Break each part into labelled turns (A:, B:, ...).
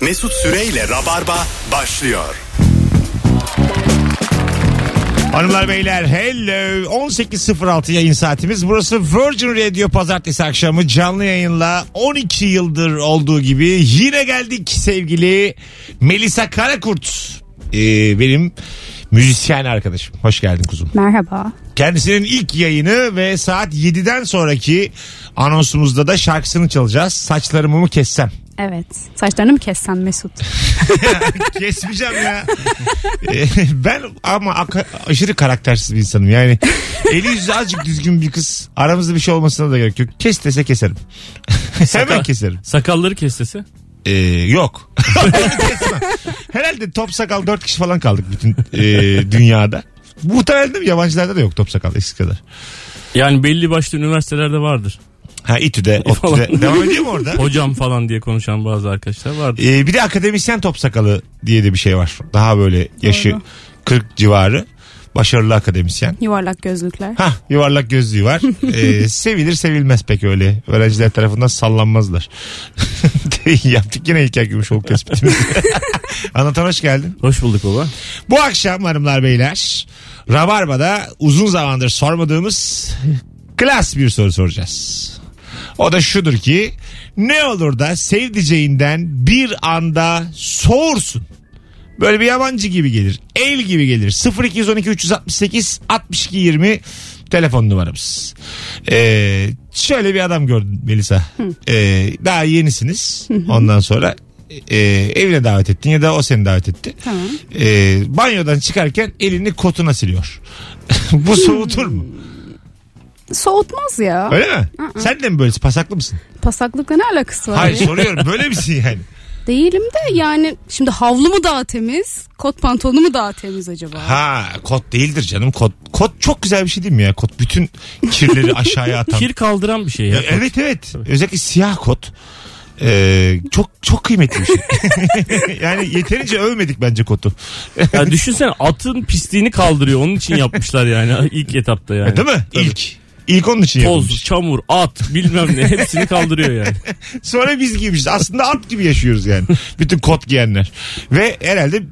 A: Mesut Süreyle Rabarba başlıyor.
B: Hanımlar beyler hello 18.06 yayın saatimiz burası Virgin Radio pazartesi akşamı canlı yayınla 12 yıldır olduğu gibi yine geldik sevgili Melisa Karakurt Ee, benim müzisyen arkadaşım hoş geldin kuzum
C: Merhaba.
B: kendisinin ilk yayını ve saat 7'den sonraki anonsumuzda da şarkısını çalacağız saçlarımı mı kessem
C: Evet. Saçlarını mı kessen Mesut?
B: Kesmeyeceğim ya. Ee, ben ama aka- aşırı karaktersiz bir insanım. Yani eli yüzü azıcık düzgün bir kız. Aramızda bir şey olmasına da gerek yok. Kes dese keserim. Hemen keserim.
D: Sakalları kestesi.
B: Ee, yok. Kesmem. Herhalde top sakal 4 kişi falan kaldık bütün e, dünyada. Muhtemelen değil mi? yabancılarda da yok top sakal eskisi kadar.
D: Yani belli başlı üniversitelerde vardır.
B: Ha İTÜ'de,
D: Falan.
B: ODTÜ'de. E, Devam ediyor mu orada?
D: Hocam falan diye konuşan bazı arkadaşlar vardır.
B: Ee, bir de akademisyen top sakalı diye de bir şey var. Daha böyle yaşı
C: Doğru.
B: 40 civarı. Başarılı akademisyen.
C: Yuvarlak gözlükler.
B: Ha yuvarlak gözlüğü var. Ee, sevilir sevilmez pek öyle. Öğrenciler tarafından sallanmazlar. Yaptık yine İlker Gümüşoluk tespitimizi. Anlatan hoş geldin.
D: Hoş bulduk baba.
B: Bu akşam hanımlar beyler Rabarba'da uzun zamandır sormadığımız klas bir soru soracağız. O da şudur ki ne olur da sevdiceğinden bir anda soğursun. Böyle bir yabancı gibi gelir. El gibi gelir. 0212 368 62 20 telefon numaramız. Ee, şöyle bir adam gördüm Melisa. Ee, daha yenisiniz. Ondan sonra e, evine davet ettin ya da o seni davet etti.
C: Tamam.
B: Ee, banyodan çıkarken elini kotuna siliyor. Bu soğutur mu?
C: Soğutmaz ya.
B: Öyle mi? Sen de mi böylesin? Pasaklı mısın?
C: Pasaklıkla ne alakası var?
B: Hayır
C: ya?
B: soruyorum. Böyle misin yani?
C: Değilim de yani şimdi havlu mu daha temiz? Kot pantolonu mu daha temiz acaba?
B: Ha kot değildir canım. Kot kot çok güzel bir şey değil mi ya? Kot bütün kirleri aşağıya atan.
D: Kir kaldıran bir şey
B: Ya,
D: ya.
B: E, evet evet. Özellikle siyah kot. Ee, çok çok kıymetli bir şey. yani yeterince övmedik bence kotu. E,
D: Ya düşünsene atın pisliğini kaldırıyor. Onun için yapmışlar yani ilk etapta yani.
B: E, Değil mi?
D: Tabii.
B: İlk. İlk onun için
D: Toz,
B: yapılmış.
D: çamur, at bilmem ne hepsini kaldırıyor yani.
B: Sonra biz giymişiz. Aslında at gibi yaşıyoruz yani. Bütün kot giyenler. Ve herhalde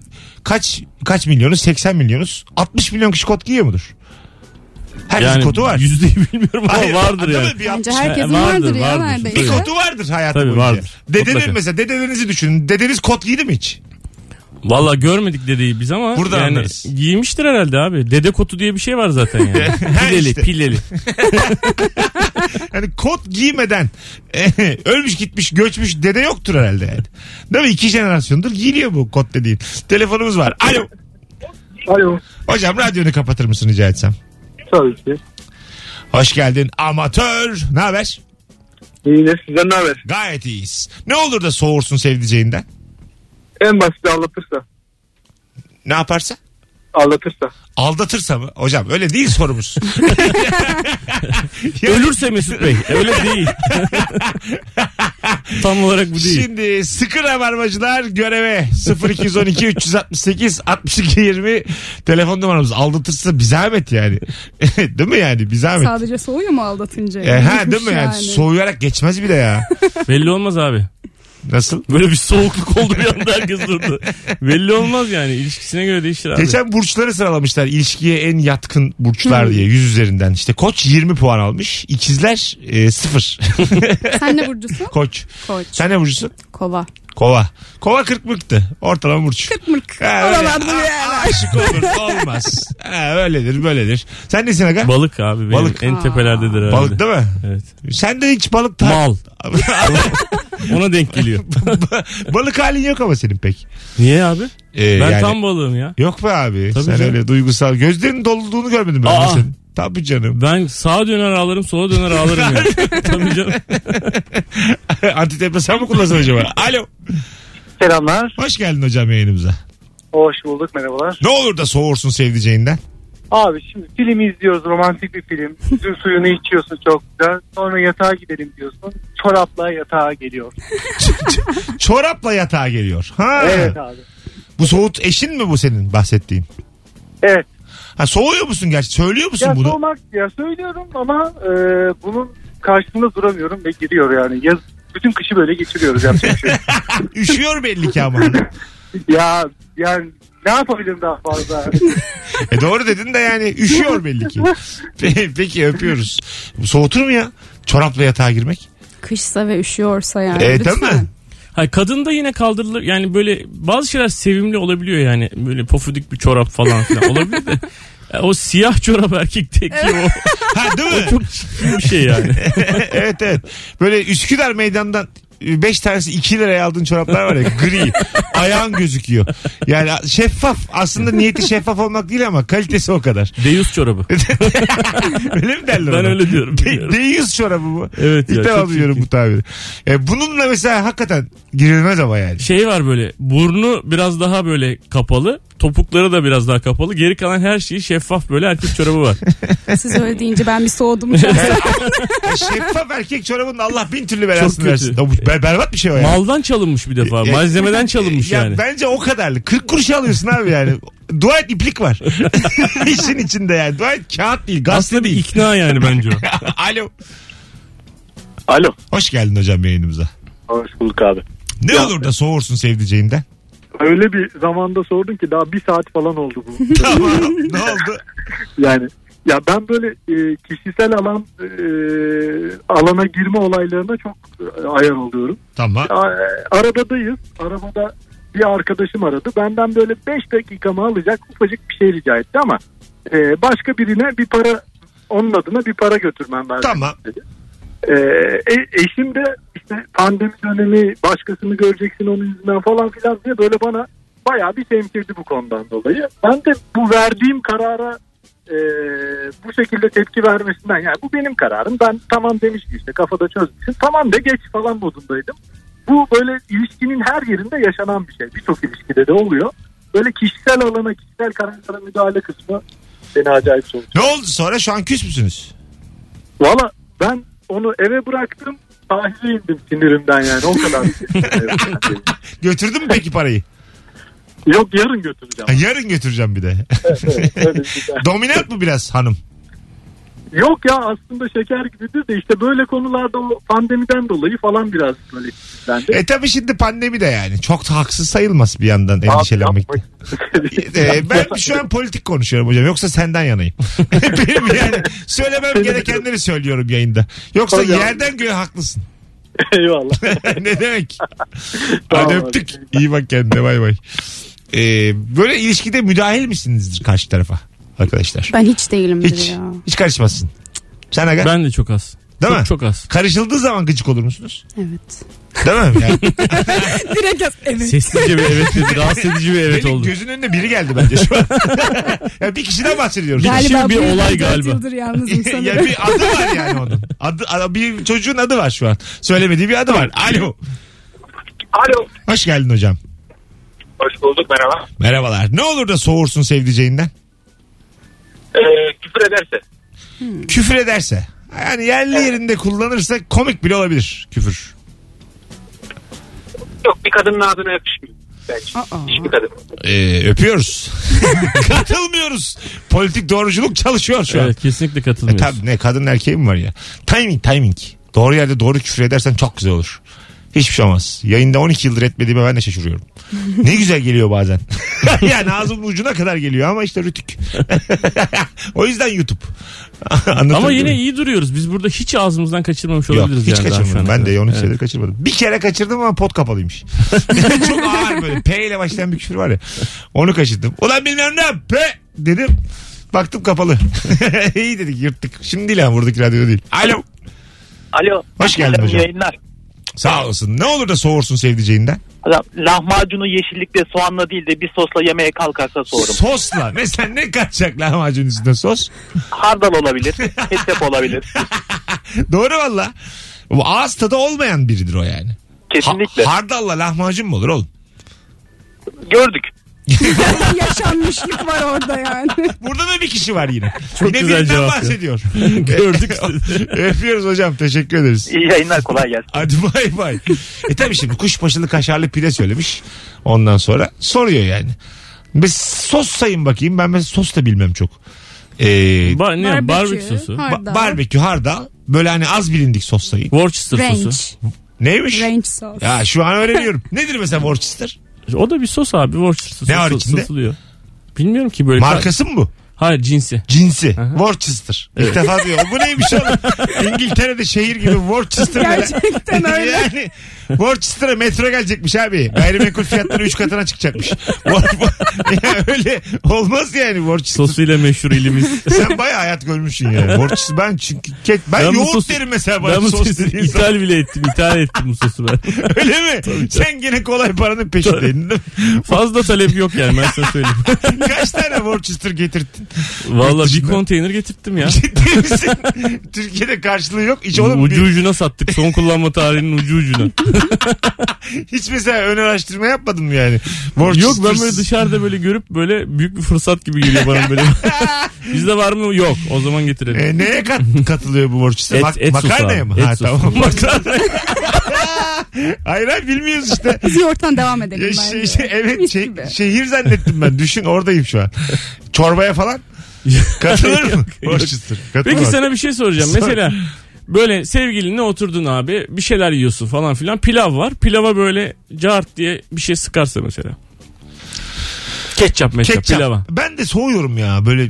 B: kaç kaç milyonuz? 80 milyonuz. 60 milyon kişi kot giyiyor mudur? Herkesin
D: yani
B: kotu var.
D: Yüzdeyi bilmiyorum ama
B: Hayır,
D: vardır
B: değil mi?
D: yani.
B: Bir
C: Bence
B: 60
C: herkesin
D: vardır,
C: vardır, ya
D: vardır.
B: Bir
C: neredeyse.
D: Öyle.
B: kotu vardır hayatı
D: Tabii
B: boyunca.
D: vardır.
B: Dedenin
D: Mutlaka.
B: mesela dedenizi düşünün. Dedeniz kot giydi mi hiç?
D: Valla görmedik dedeyi biz ama
B: Burada
D: yani
B: anlarız.
D: giymiştir herhalde abi. Dede kotu diye bir şey var zaten yani. pileli,
B: işte.
D: pileli.
B: Hani kot giymeden ölmüş gitmiş göçmüş dede yoktur herhalde yani. Değil mi? İki jenerasyondur giyiliyor bu kot dediğin. Telefonumuz var. Alo.
E: Alo.
B: Hocam radyonu kapatır mısın rica etsem?
E: Tabii ki.
B: Hoş geldin amatör. Ne haber?
E: İyidir. Sizden ne haber?
B: Gayet iyiyiz. Ne olur da soğursun sevdiceğinden?
E: En basit anlatırsa.
B: Ne yaparsa?
E: Anlatırsa.
B: Aldatırsa mı? Hocam öyle değil sorumuz. Ya-
D: Ölürse Mesut Bey. Öyle değil. Tam olarak bu değil.
B: Şimdi sıkı rabarmacılar göreve 0212 368 62 20 telefon numaramız aldatırsa bir zahmet yani. değil mi yani bir zahmet.
C: Sadece soğuyor mu aldatınca?
B: E, ha değil mi yani? soğuyarak geçmez bir de ya.
D: Belli olmaz abi.
B: Nasıl?
D: Böyle bir soğukluk oldu bir anda herkes durdu. Belli olmaz yani. ilişkisine göre değişir abi.
B: Geçen burçları sıralamışlar ilişkiye en yatkın burçlar diye yüz üzerinden. İşte koç 20 puan almış ikizler 0
C: Sen ne burcusun?
B: koç.
C: Koç.
B: Sen ne burcusun?
C: Kova.
B: Kova. Kova 40 mıktı ortalama burç.
C: Mırk.
B: Ha, öyle.
C: Oralarda bir
B: A-
C: yerler.
B: Aşık olur olmaz. Ha, öyledir böyledir. Sen nesin aga?
D: Balık abi benim
B: Balık.
D: en tepelerdedir herhalde.
B: Balık değil mi?
D: Evet.
B: Sen de hiç balık ta-
D: Mal. Ona denk geliyor.
B: balık halin yok ama senin pek.
D: Niye abi?
B: Ee,
D: Ben
B: yani-
D: tam balığım ya.
B: Yok be abi.
D: Tabii
B: sen
D: canım.
B: öyle duygusal. Gözlerinin dolduğunu görmedim ben.
D: Aa.
B: Senin. Tabii canım.
D: Ben sağa döner ağlarım sola döner ağlarım yani. Tabii canım.
B: Antidepresan mı kullansın acaba? Alo.
E: Selamlar.
B: Hoş geldin hocam yayınımıza.
E: Hoş bulduk. Merhabalar.
B: Ne olur da soğursun sevdiceğinden.
E: Abi şimdi film izliyoruz. Romantik bir film. Üzüm suyunu içiyorsun çok güzel. Sonra yatağa gidelim diyorsun. Çorapla yatağa geliyor.
B: Çorapla yatağa geliyor. Ha.
E: Evet abi.
B: Bu soğut eşin mi bu senin bahsettiğin?
E: Evet.
B: Ha soğuyor musun gerçi? Söylüyor musun
E: Ya
B: bunu?
E: soğumak ya söylüyorum ama e, bunun karşısında duramıyorum ve giriyor yani. Yaz, bütün kışı böyle geçiriyoruz. Yapacak bir şey. yok.
B: Üşüyor belli ki ama.
E: ya yani ne yapabilirim daha fazla?
B: E doğru dedin de yani üşüyor belli ki. Pe- Peki öpüyoruz. Soğutur mu ya? Çorapla yatağa girmek.
C: Kışsa ve üşüyorsa yani.
B: E
C: lütfen.
B: değil mi?
D: Hayır kadın da yine kaldırılır. Yani böyle bazı şeyler sevimli olabiliyor yani. Böyle pofudik bir çorap falan filan olabilir de. Ya O siyah çorap erkekteki o
B: Ha değil mi?
D: çok çirkin bir şey yani.
B: evet evet. Böyle Üsküdar meydandan 5 tanesi 2 liraya aldığın çoraplar var ya gri. Ayağın gözüküyor. Yani şeffaf. Aslında niyeti şeffaf olmak değil ama kalitesi o kadar.
D: Deus çorabı.
B: Öyle mi derler
D: Ben
B: ona?
D: öyle diyorum,
B: De-
D: biliyorum.
B: deyiz çorabı bu.
D: Evet
B: İlk
D: ya,
B: defa
D: çok
B: duyuyorum bu tabiri. E, bununla mesela hakikaten girilmez ama yani.
D: Şey var böyle burnu biraz daha böyle kapalı. Topukları da biraz daha kapalı. Geri kalan her şeyi şeffaf böyle erkek çorabı var.
C: Siz öyle deyince ben bir soğudum. Çok
B: E, Şeffaf erkek çorabının Allah bin türlü belasını
D: kötü.
B: versin. Ya bu be- berbat bir şey o yani.
D: Maldan çalınmış bir defa.
B: Ya-
D: Malzemeden çalınmış
B: ya
D: yani.
B: Bence o kadarlık. 40 kuruş alıyorsun abi yani. Dua et iplik var. İşin içinde yani. Dua et kağıt değil, gazete
D: Aslında bir
B: değil.
D: ikna yani bence o.
B: Alo.
F: Alo.
B: Hoş geldin hocam yayınımıza.
F: Hoş bulduk abi.
B: Ne olur da soğursun sevdiceğinden.
E: Öyle bir zamanda sordun ki daha bir saat falan oldu bu.
B: tamam. Ne oldu?
E: Yani ya ben böyle e, kişisel alan e, alana girme olaylarına çok e, ayar oluyorum.
B: Tamam.
E: A- e, arabadayız. Arabada bir arkadaşım aradı. Benden böyle 5 dakikamı alacak ufacık bir şey rica etti ama e, başka birine bir para onun adına bir para götürmem lazım.
B: Tamam.
E: E, e- eşim de işte pandemi dönemi başkasını göreceksin onun yüzünden falan filan diye böyle bana bayağı bir temkirdi bu konudan dolayı. Ben de bu verdiğim karara e, bu şekilde tepki vermesinden yani bu benim kararım. Ben tamam demiştim işte kafada çözmüşüm. Tamam de geç falan modundaydım. Bu böyle ilişkinin her yerinde yaşanan bir şey. Birçok ilişkide de oluyor. Böyle kişisel alana, kişisel kararlara müdahale kısmı beni acayip soğuttu.
B: Ne oldu sonra? Şu an küs müsünüz?
E: Valla ben onu eve bıraktım sahile indim sinirimden yani o kadar.
B: Götürdün mü peki parayı?
E: Yok yarın
B: Ha,
E: götüreceğim.
B: yarın götüreceğim bir de.
E: Evet, öyle güzel.
B: Dominant mı biraz hanım?
E: Yok ya aslında şeker gibidir de işte böyle konularda o pandemiden dolayı falan biraz böyle sinirlendi.
B: E tabi şimdi pandemi de yani. Çok da haksız sayılmaz bir yandan endişelenmek. de. E, ben şu an politik konuşuyorum hocam. Yoksa senden yanayım. Benim yani söylemem gerekenleri söylüyorum yayında. Yoksa
E: Tabii abi.
B: yerden göğe haklısın.
E: Eyvallah.
B: ne demek?
E: Tamam
B: Hadi
E: abi.
B: öptük. İyi bak kendine bay bay. E, böyle ilişkide müdahil misinizdir karşı tarafa arkadaşlar?
C: Ben hiç değilimdir
B: Hiç.
C: ya.
B: Hiç karışmazsın. Sen aga?
D: Ben de çok az.
B: Değil
D: çok,
B: mi?
D: çok az.
B: Karışıldığı zaman gıcık olur musunuz?
C: Evet.
B: Değil mi? Yani
C: Direkt yaz. Evet.
D: Sessizce bir evet dedi. Rahatsız edici bir evet
B: benim
D: oldu.
B: gözünün önünde biri geldi bence şu an. ya bir kişiden bahsediyoruz.
D: Bir kişi bir
C: bu yüzden
D: olay
C: dört
D: galiba.
C: Yıldır yalnızım sanırım.
B: ya bir adı var yani onun. Adı, adı- bir çocuğun adı var şu an. Söylemediği bir adı var. Alo.
F: Alo.
B: Hoş geldin hocam.
F: Hoş bulduk merhaba.
B: Merhabalar. Ne olur da soğursun sevdiceğinden.
F: Ee, küfür ederse.
B: Küfür ederse. Yani yerli yerinde kullanırsa komik bile olabilir küfür.
F: Yok bir kadının ağzına yakışmıyor. Bence.
C: Aa.
F: Hiçbir kadın.
B: Ee, öpüyoruz. Katılmıyoruz. Politik doğruculuk çalışıyor şu an.
D: Evet kesinlikle
B: E
D: katılmıyorsun.
B: tabi ne kadın erkeği mi var ya? Timing timing. Doğru yerde doğru küfür edersen çok güzel olur. Hiçbir şey olmaz. Yayında 12 yıldır etmediğime ben de şaşırıyorum. Ne güzel geliyor bazen. yani ağzımın ucuna kadar geliyor ama işte rütük. o yüzden YouTube. Anlatabiliyor
D: Ama yine
B: muyum?
D: iyi duruyoruz. Biz burada hiç ağzımızdan kaçırmamış
B: Yok,
D: olabiliriz.
B: hiç
D: yani daha şu
B: kaçırmadım.
D: ana
B: Ben de
D: kadar.
B: 12 senedir kaçırmadım. Bir kere kaçırdım ama pot kapalıymış. Çok ağır böyle. P ile başlayan bir küfür var ya. Onu kaçırdım. Ulan bilmem ne P dedim. Baktım kapalı. İyi dedik yırttık. Şimdi değil ha buradaki radyoda değil. Alo.
G: Alo.
B: Hoş geldin
G: Selam,
B: hocam.
G: Yayınlar.
B: Sağ olasın. Ne olur da soğursun sevdiceğinden.
G: Adam, lahmacunu yeşillikle soğanla değil de bir sosla yemeye kalkarsa soğurum.
B: Sosla. Mesela ne kaçacak lahmacun üstüne sos?
G: Hardal olabilir. Ketçap olabilir.
B: Doğru valla. Bu ağız tadı olmayan biridir o yani. Ha-
G: Kesinlikle.
B: hardalla lahmacun mu olur oğlum?
G: Gördük.
C: Bir yaşanmışlık var orada yani.
B: Burada da bir kişi var yine. yine
D: güzel
B: birinden
D: cevap ya.
B: bahsediyor.
D: Gördük.
B: Öpüyoruz hocam. Teşekkür ederiz.
G: İyi yayınlar kolay gelsin.
B: Hadi bay bay. e tabii şimdi kuşbaşılı kaşarlı pide söylemiş. Ondan sonra soruyor yani. Biz sos sayın bakayım. Ben mesela sos da bilmem çok. Ee,
D: Ba- ne,
C: Barbekü,
D: barbekü sosu.
B: ba-
C: hardal,
B: barbekü, hardal. Böyle hani az bilindik sos sayın.
D: Worcester
C: Ranch.
D: sosu.
B: Neymiş?
C: Ranch sos.
B: Ya şu an öğreniyorum. Nedir mesela Worcester?
D: O da bir sos abi. Worcester
B: Ne var
D: sosu
B: içinde?
D: satılıyor. Bilmiyorum ki böyle.
B: Markası mı bu?
D: Hayır cinsi.
B: Cinsi. Worcester. İlk defa diyor. Bu neymiş oğlum? İngiltere'de şehir gibi Worcester. ne lan?
C: Gerçekten öyle.
B: Yani Worcester'a metro gelecekmiş abi. Gayrimenkul fiyatları 3 katına çıkacakmış. Wor- ya öyle olmaz yani Worcester.
D: Sosuyla meşhur ilimiz.
B: Sen bayağı hayat görmüşsün yani. Worcester ben çünkü kek, ben,
D: Ben bu
B: yoğurt
D: sosu-
B: derim mesela bana
D: ben bu
B: sos
D: sosu
B: dediğin zaman.
D: ithal bile ettim. İthal ettim bu sosu ben.
B: Öyle mi? Sen gene kolay paranın peşindeydin değil mi?
D: Fazla talep yok yani ben sana söyleyeyim.
B: Kaç tane Worcester getirdin?
D: Valla bir
B: dışında.
D: konteyner getirttim ya.
B: Ciddi misin? Türkiye'de karşılığı yok. Hiç oğlum
D: ucu ucuna sattık. Son kullanma tarihinin ucu ucuna.
B: hiç mesela ön araştırma yapmadın mı yani? Worcester.
D: Yok ben böyle dışarıda böyle görüp böyle büyük bir fırsat gibi geliyor bana böyle. Bizde var mı? Yok. O zaman getirelim.
B: E, neye kat, katılıyor bu Worcester?
D: Et-
B: Mak-
D: et sosu
B: makarnaya
D: abi.
B: mı?
D: Et
B: ha
D: sosu.
B: tamam. hayır hayır bilmiyoruz işte.
C: Biz yoğurttan devam
B: Ya
C: edelim
B: şey-
C: bence.
B: şey- evet
C: Mis
B: şey-
C: gibi.
B: şehir zannettim ben. Düşün oradayım şu an. Çorbaya falan. Katılır mı? Worcester. Katılmaz.
D: Peki sana bir şey soracağım.
B: Sor.
D: Mesela böyle sevgilinle oturdun abi bir şeyler yiyorsun falan filan pilav var. Pilava böyle cart diye bir şey sıkarsa mesela. Ketçap mesela
B: ketçap.
D: pilava.
B: Ben de soğuyorum ya böyle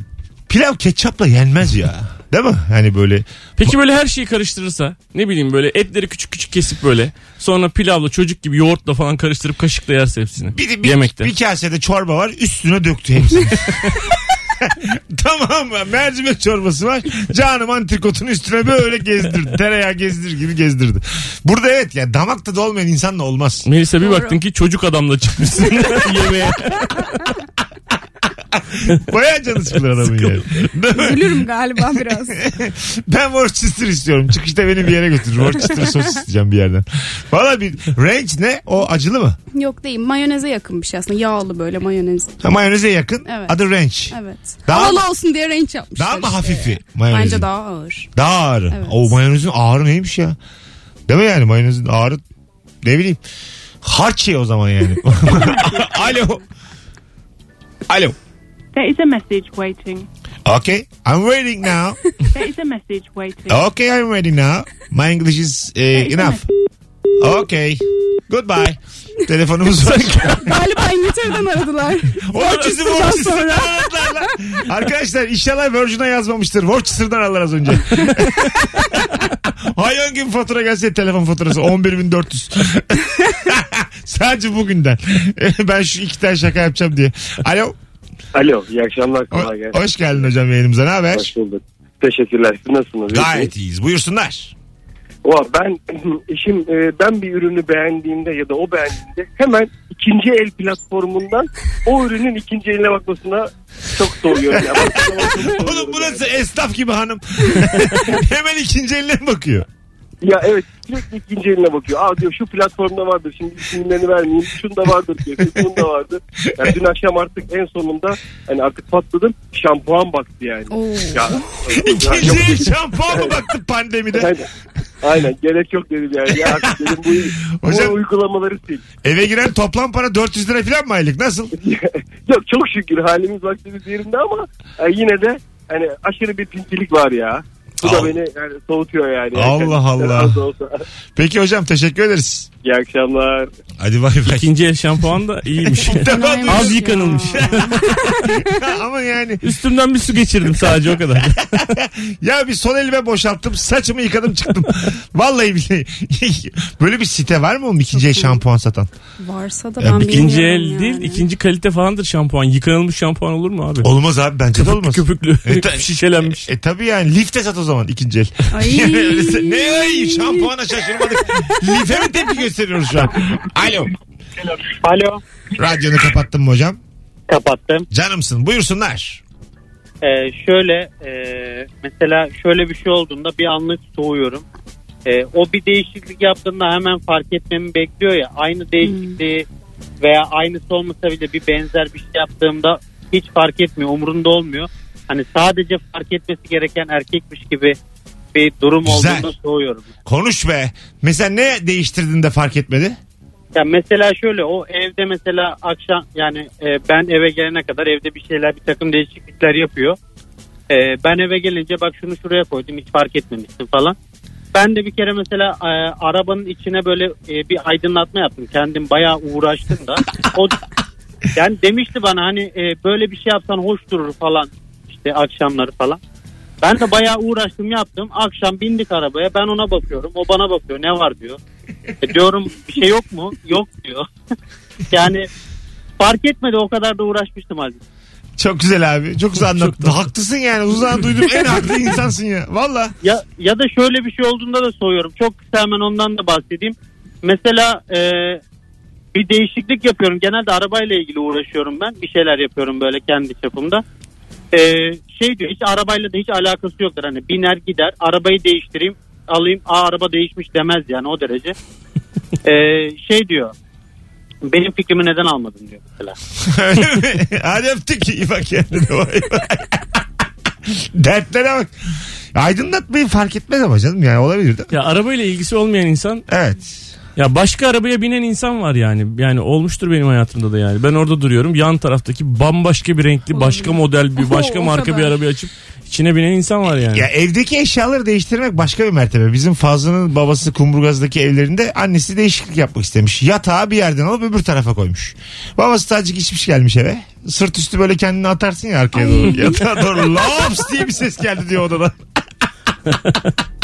B: pilav ketçapla yenmez ya. Değil mi? Hani böyle
D: Peki böyle her şeyi karıştırırsa ne bileyim böyle etleri küçük küçük kesip böyle sonra pilavla çocuk gibi yoğurtla falan karıştırıp kaşıkla yerse hepsini.
B: bir, de- bir,
D: Yemekte.
B: bir kasede çorba var üstüne döktü hepsini. tamam mı? Mercimek çorbası var. Canım antrikotun üstüne böyle gezdirdi. Tereyağı gezdirir gibi gezdirdi. Burada evet ya damakta da olmayan insanla olmaz.
D: Melisa bir
C: Doğru.
D: baktın ki çocuk adamla çıkmışsın yemeğe.
B: Bayağı canı sıkılır adamın yani. Değil mi?
C: Gülürüm galiba biraz.
B: Ben Worcester istiyorum. Çıkışta beni bir yere götür. Worcester sos isteyeceğim bir yerden. Valla bir ranch ne? O acılı mı?
C: Yok değil mayoneze yakın bir şey aslında. Yağlı böyle mayonez.
B: Ha, mayoneze yakın.
C: Evet.
B: Adı ranch.
C: Evet.
B: Daha-
C: Havalı olsun diye ranch yapmışlar
B: Daha mı
C: işte.
B: hafifi mayonezin?
C: Bence daha ağır.
B: Daha ağırı.
C: Evet.
B: O mayonezin ağırı neymiş ya? Değil mi yani mayonezin ağırı ne bileyim. Harç ye o zaman yani. Alo. Alo.
H: There is a message waiting.
B: Okay, I'm waiting now.
H: There is a message waiting.
B: Okay, I'm waiting now. My English is eh, enough. Okay. Goodbye. Telefonumuz var.
C: galiba İngiltere'den aradılar.
B: Worcester'dan
C: Worcester'dan sonra.
B: aradılar lan. Arkadaşlar inşallah Virgin'a yazmamıştır. Worcester'dan aradılar az önce. Hayvan gibi fatura gelse telefon faturası 11.400. Sadece bugünden. ben şu iki tane şaka yapacağım diye. Alo.
I: Alo iyi akşamlar
B: ho-
I: kolay gelsin.
B: hoş geldin hocam yayınımıza. Ne haber?
I: Hoş bulduk. Teşekkürler. Siz nasılsınız?
B: Gayet iyiyiz. Buyursunlar.
I: Valla ben işim e, ben bir ürünü beğendiğimde ya da o beğendiğinde hemen ikinci el platformundan o ürünün ikinci eline bakmasına çok soğuyorum. Yani.
B: Oğlum burası esnaf gibi hanım. Hemen ikinci eline mi bakıyor?
I: Ya evet sürekli ikinci eline bakıyor. Aa diyor şu platformda vardır şimdi isimlerini vermeyeyim. Şunu da vardır diyor. Şunu da vardır. Ya dün akşam artık en sonunda hani artık patladım şampuan baktı yani.
C: Oo.
I: Ya,
B: İkinci el şampuan mı baktın pandemide?
I: Aynen. Aynen gerek yok dedim yani. Ya artık dedim bu, bu
B: Hocam-
I: uygulamaları sil.
B: Eve giren toplam para 400 lira falan mı aylık? Nasıl?
I: yok çok şükür halimiz vaktimiz yerinde ama e, yine de hani aşırı bir pintilik var ya. Bu
B: Al-
I: da beni yani, soğutuyor yani.
B: Allah
I: Hakikaten
B: Allah.
I: az da olsa.
B: Peki hocam teşekkür ederiz.
I: İyi akşamlar.
B: Hadi bay bay.
D: İkinci el şampuan da iyiymiş.
B: İlk defa
C: Neymiş
B: duydum.
D: Az yıkanılmış.
C: ya?
B: Ama yani
D: Üstümden bir su geçirdim sadece o kadar.
B: ya bir sol elime boşalttım saçımı yıkadım çıktım. Vallahi billahi. Böyle bir site var mı oğlum ikinci el şampuan satan?
C: Varsa da
B: Ya
C: ben bilmiyorum
D: İkinci el
C: yani.
D: değil ikinci kalite falandır şampuan. Yıkanılmış şampuan olur mu abi?
B: Olmaz abi bence de olmaz.
D: Köpüklü.
B: E, ta-
D: Şişelenmiş.
B: E tabi yani lifte sat o zaman ikinci el.
C: Ay.
B: Yani öyleyse- ne ay şampuana şaşırmadık. Life mi tepki gösteriyoruz şu an? Alo.
G: Alo.
B: Radyonu kapattın mı hocam?
G: Kapattım.
B: Canımsın buyursunlar.
G: Ee, şöyle e, mesela şöyle bir şey olduğunda bir anlık soğuyorum. Ee, o bir değişiklik yaptığında hemen fark etmemi bekliyor ya. Aynı değişikliği veya aynısı olmasa bile bir benzer bir şey yaptığımda hiç fark etmiyor. Umurunda olmuyor. Hani sadece fark etmesi gereken erkekmiş gibi bir durum
B: Güzel.
G: olduğunda soğuyorum.
B: Konuş be. Mesela ne değiştirdin de fark etmedi?
G: Ya mesela şöyle o evde mesela akşam yani e, ben eve gelene kadar evde bir şeyler bir takım değişiklikler yapıyor. E, ben eve gelince bak şunu şuraya koydum hiç fark etmemişsin falan. Ben de bir kere mesela e, arabanın içine böyle e, bir aydınlatma yaptım. Kendim bayağı uğraştım da. O yani demişti bana hani e, böyle bir şey yapsan hoş durur falan işte akşamları falan. Ben de bayağı uğraştım yaptım. Akşam bindik arabaya ben ona bakıyorum. O bana bakıyor ne var diyor. E, diyorum bir şey yok mu? Yok diyor. yani fark etmedi o kadar da uğraşmıştım Aziz.
B: Çok güzel abi. Çok güzel anlattın. Haklısın yani. Uzun zaman duyduğum en haklı insansın ya. Valla.
G: Ya, ya da şöyle bir şey olduğunda da soruyorum. Çok kısa hemen ondan da bahsedeyim. Mesela e, bir değişiklik yapıyorum. Genelde arabayla ilgili uğraşıyorum ben. Bir şeyler yapıyorum böyle kendi çapımda. E, şey diyor hiç arabayla da hiç alakası yoktur. Hani biner gider arabayı değiştireyim alayım. Aa araba değişmiş demez yani o derece. E, şey diyor benim fikrimi neden almadın diyor mesela.
B: Öyle mi? Hadi öptük. İyi bak kendine. Vay vay. Dertlere bak. Aydınlatmayı fark etmez ama canım yani olabilir değil mi?
D: Ya arabayla ilgisi olmayan insan
B: Evet.
D: ya başka arabaya binen insan var yani. Yani olmuştur benim hayatımda da yani. Ben orada duruyorum. Yan taraftaki bambaşka bir renkli, başka model, bir başka
C: O
D: marka
C: kadar.
D: bir arabayı açıp içine binen insan var yani.
B: Ya evdeki eşyaları değiştirmek başka bir mertebe. Bizim Fazlı'nın babası Kumburgaz'daki evlerinde annesi değişiklik yapmak istemiş. Yatağı bir yerden alıp öbür tarafa koymuş. Babası tacık içmiş gelmiş eve. Sırt üstü böyle kendini atarsın ya arkaya doğru. Yatağa doğru laps diye bir ses geldi diyor odadan.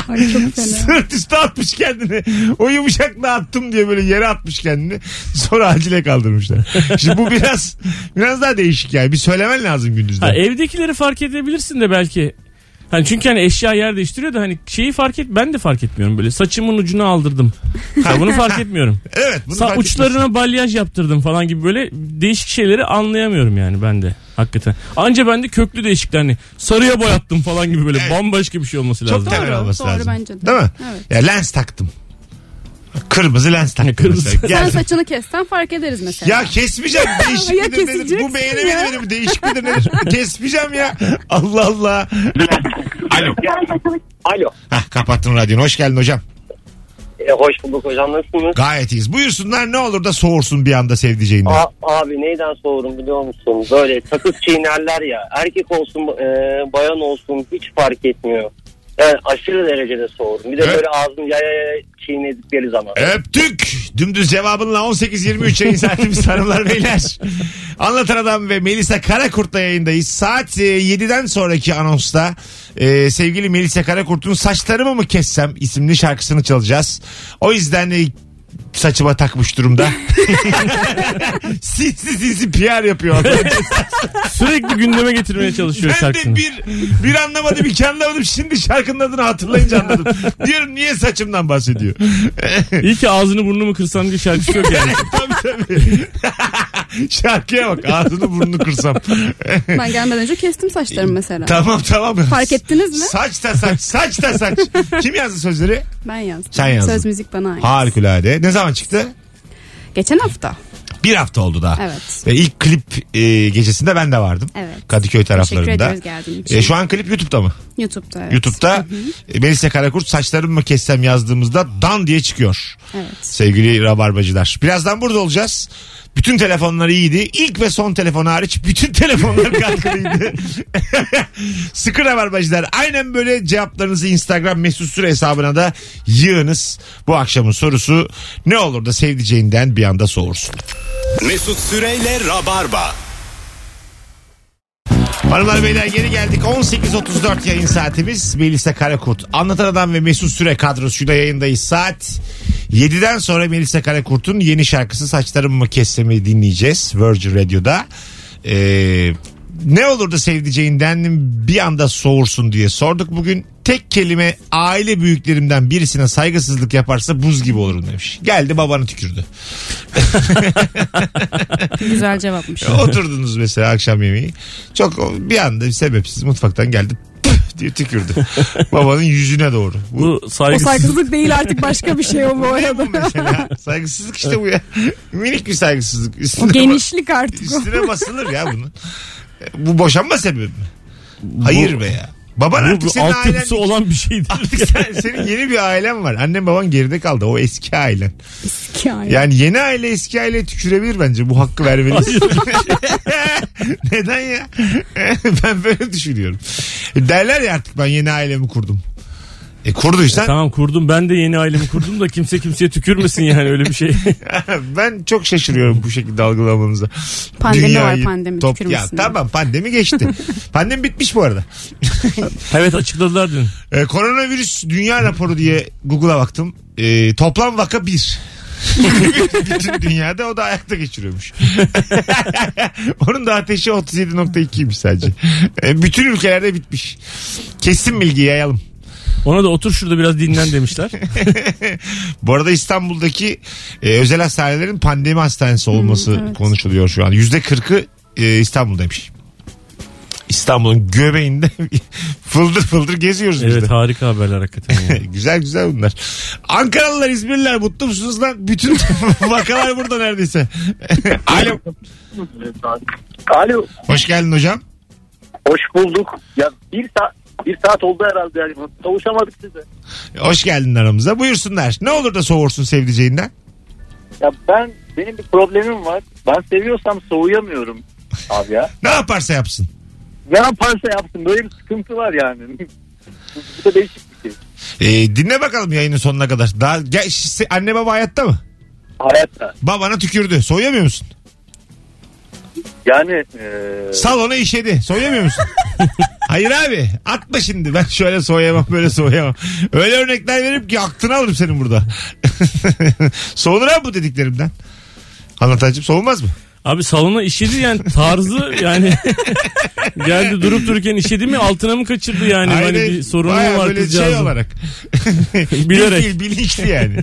C: Ay çok fena.
B: Sırt üstü atmış kendini. O yumuşakla attım diye böyle yere atmış kendini. Sonra acile kaldırmışlar. Şimdi bu biraz biraz daha değişik yani. Bir söylemen lazım gündüzden.
D: Ha, e, evdekileri fark edebilirsin de belki. Hani çünkü hani eşya yer değiştiriyor da hani şeyi fark et ben de fark etmiyorum böyle. Saçımın ucunu aldırdım. Ha, bunu fark etmiyorum.
B: evet. Bunu
D: Sa-
B: fark etmişsin.
D: uçlarına balyaj yaptırdım falan gibi böyle değişik şeyleri anlayamıyorum yani ben de hakikaten. Anca ben de köklü değişikler hani sarıya boyattım falan gibi böyle bambaşka bir şey olması lazım.
B: Çok temel
C: Doğru,
B: olması
C: doğru
B: lazım.
C: bence de.
B: Değil mi?
C: Evet.
B: Ya lens taktım. Kırmızı lens taktım.
D: Kırmızı.
B: mesela.
C: Sen
B: Gel-
C: saçını kessen fark ederiz mesela.
B: Ya kesmeyeceğim. Değişik
C: Ya
B: midir nedir? Bu
C: keseceksin
B: beğenemedi
C: ya.
B: beni. Bu Değişik midir nedir? kesmeyeceğim ya. Allah Allah.
F: Alo.
I: Alo.
B: Hah, kapattın radyonu. Hoş geldin hocam.
I: E, hoş bulduk hocam nasılsınız?
B: Gayet iyiyiz. Buyursunlar ne olur da soğursun bir anda sevdiceğinden.
I: A- abi neyden soğurum biliyor musun? Böyle takıp çiğnerler ya. Erkek olsun e, bayan olsun hiç fark etmiyor. Yani aşırı derecede e, soğurum. Bir de
B: Evet.
I: böyle ağzını yaya yaya çiğnedikleri zaman.
B: Öptük. Dümdüz cevabınla 18.23 yayın saatimiz hanımlar beyler. Anlatan Adam ve Melisa Karakurt'la yayındayız. Saat e, 7'den sonraki anonsta e, sevgili Melisa Karakurt'un Saçlarımı mı kessem isimli şarkısını çalacağız. O yüzden e, saçıma takmış durumda. sinsi sinsi PR yapıyor.
D: Sürekli gündeme getirmeye çalışıyor
B: ben de
D: şarkısını.
B: bir, bir anlamadım iki anlamadım. Şimdi şarkının adını hatırlayınca anladım. Diyorum niye saçımdan bahsediyor.
D: İyi ki ağzını burnumu kırsan diye şarkısı yok yani.
B: tabii tabii. Şarkıya bak ağzını burnunu kırsam.
C: Ben gelmeden önce kestim saçlarımı mesela.
B: tamam tamam.
C: Fark ettiniz mi?
B: Saç da saç, saç da saç. Kim yazdı sözleri?
C: Ben yazdım.
B: Sen yazdın.
C: Söz müzik bana ait.
B: Harikulade. Ne zaman çıktı?
C: Geçen hafta.
B: Bir hafta oldu daha.
C: Evet.
B: Ve ilk klip e, gecesinde ben de vardım.
C: Evet.
B: Kadıköy
C: Teşekkür
B: taraflarında.
C: ediyoruz geldiğin için.
B: E, şu an klip YouTube'da mı?
C: YouTube'da evet.
B: YouTube'da e, Melisa Karakurt saçlarımı mı kessem yazdığımızda dan diye çıkıyor.
C: Evet.
B: Sevgili rabarbacılar. Birazdan burada olacağız. Bütün telefonlar iyiydi. İlk ve son telefon hariç bütün telefonlar katkılıydı. Sıkı rabarbacılar. Aynen böyle cevaplarınızı Instagram mesut süre hesabına da yığınız. Bu akşamın sorusu ne olur da sevdiceğinden bir anda soğursun.
A: Mesut Süreyle Rabarba.
B: Hanımlar beyler geri geldik. 18.34 yayın saatimiz. Melisa Karakurt. Anlatan Adam ve Mesut Süre kadrosuyla yayındayız. Saat 7'den sonra Melisa Karakurt'un yeni şarkısı Saçlarım mı Kessemi dinleyeceğiz. Virgin Radio'da. Ee, ne olur da sevdiceğinden bir anda soğursun diye sorduk bugün. Tek kelime aile büyüklerimden birisine saygısızlık yaparsa buz gibi olurum demiş. Geldi babanı tükürdü.
C: Güzel cevapmış.
B: Oturdunuz mesela akşam yemeği. Çok bir anda sebepsiz mutfaktan geldi püf diye tükürdü. Babanın yüzüne doğru. Bu,
D: Bu
C: O
D: saygısız.
C: saygısızlık değil artık başka bir şey o
B: ne
C: bu
B: bu
C: arada.
B: mesela? Saygısızlık işte bu ya. Minik bir saygısızlık. Üstüne,
C: O
B: ba-
C: genişlik artık o.
B: üstüne basılır ya bunun. E, Bu boşanma sebebi mi? Hayır be ya. Baban
D: Bu,
B: artık
D: bu
B: senin ailen.
D: altyapısı olan bir şey şeydir.
B: Artık sen- senin yeni bir ailen var. Annen baban geride kaldı. O eski ailen.
C: Eski aile.
B: Yani yeni aile eski aile tükürebilir bence. Bu hakkı vermeliyiz. Neden ya? ben böyle düşünüyorum. Derler ya artık ben yeni ailemi kurdum. E kurduysan
D: Tamam kurdum ben de yeni ailemi kurdum da kimse kimseye tükürmesin yani öyle bir şey.
B: ben çok şaşırıyorum bu şekilde algılamanıza.
C: Pandemi
B: Dünyayı
C: var, pandemi,
B: Ya,
C: tükürmesin.
B: tamam pandemi geçti. pandemi bitmiş bu arada.
D: evet açıkladılar dün.
B: E, koronavirüs dünya raporu diye Google'a baktım. E, toplam vaka bir. Bütün dünyada o da ayakta geçiriyormuş. Onun da ateşi 37.2'ymiş sadece. E, bütün ülkelerde bitmiş. Kesin bilgi yayalım.
D: Ona da otur şurada biraz dinlen demişler.
B: Bu arada İstanbul'daki e, özel hastanelerin pandemi hastanesi olması konuşuluyor şu an. Yüzde kırkı e, İstanbul'daymış. İstanbul'un göbeğinde fıldır fıldır geziyoruz biz de.
D: Evet harika haberler hakikaten. ya.
B: güzel güzel bunlar. Ankaralılar, İzmirliler mutlu musunuz lan? Bütün vakalar burada neredeyse. Alo.
E: Alo.
B: Hoş geldin hocam.
E: Hoş bulduk. Ya bir saat bir saat oldu herhalde yani. Kavuşamadık size.
B: Hoş geldin aramıza. Buyursunlar. Ne olur da soğursun sevdiceğinden.
E: Ya ben benim bir problemim var. Ben seviyorsam soğuyamıyorum abi ya.
B: Ne yaparsa yapsın.
E: Ne yaparsa yapsın böyle bir sıkıntı var yani. Bu da değişik bir şey.
B: E, dinle bakalım yayının sonuna kadar. Daha gel, se- anne baba hayatta mı?
E: Hayatta.
B: Babana tükürdü. Soyamıyor musun?
E: Yani eee
B: Salona işedi. Soyamıyor musun? Hayır abi atma şimdi ben şöyle soyamam böyle soyamam. Öyle örnekler verip ki aklını alırım senin burada. Soğunur abi bu dediklerimden. Anlatacağım soğumaz mı?
D: Abi salona işedi yani tarzı yani geldi durup dururken işedi mi altına mı kaçırdı yani
B: Aynen,
D: hani bir sorunu mu
B: bayağı
D: var
B: böyle
D: kızcağızın?
B: şey olarak.
D: Bilerek.
B: Bil- bilinçli yani.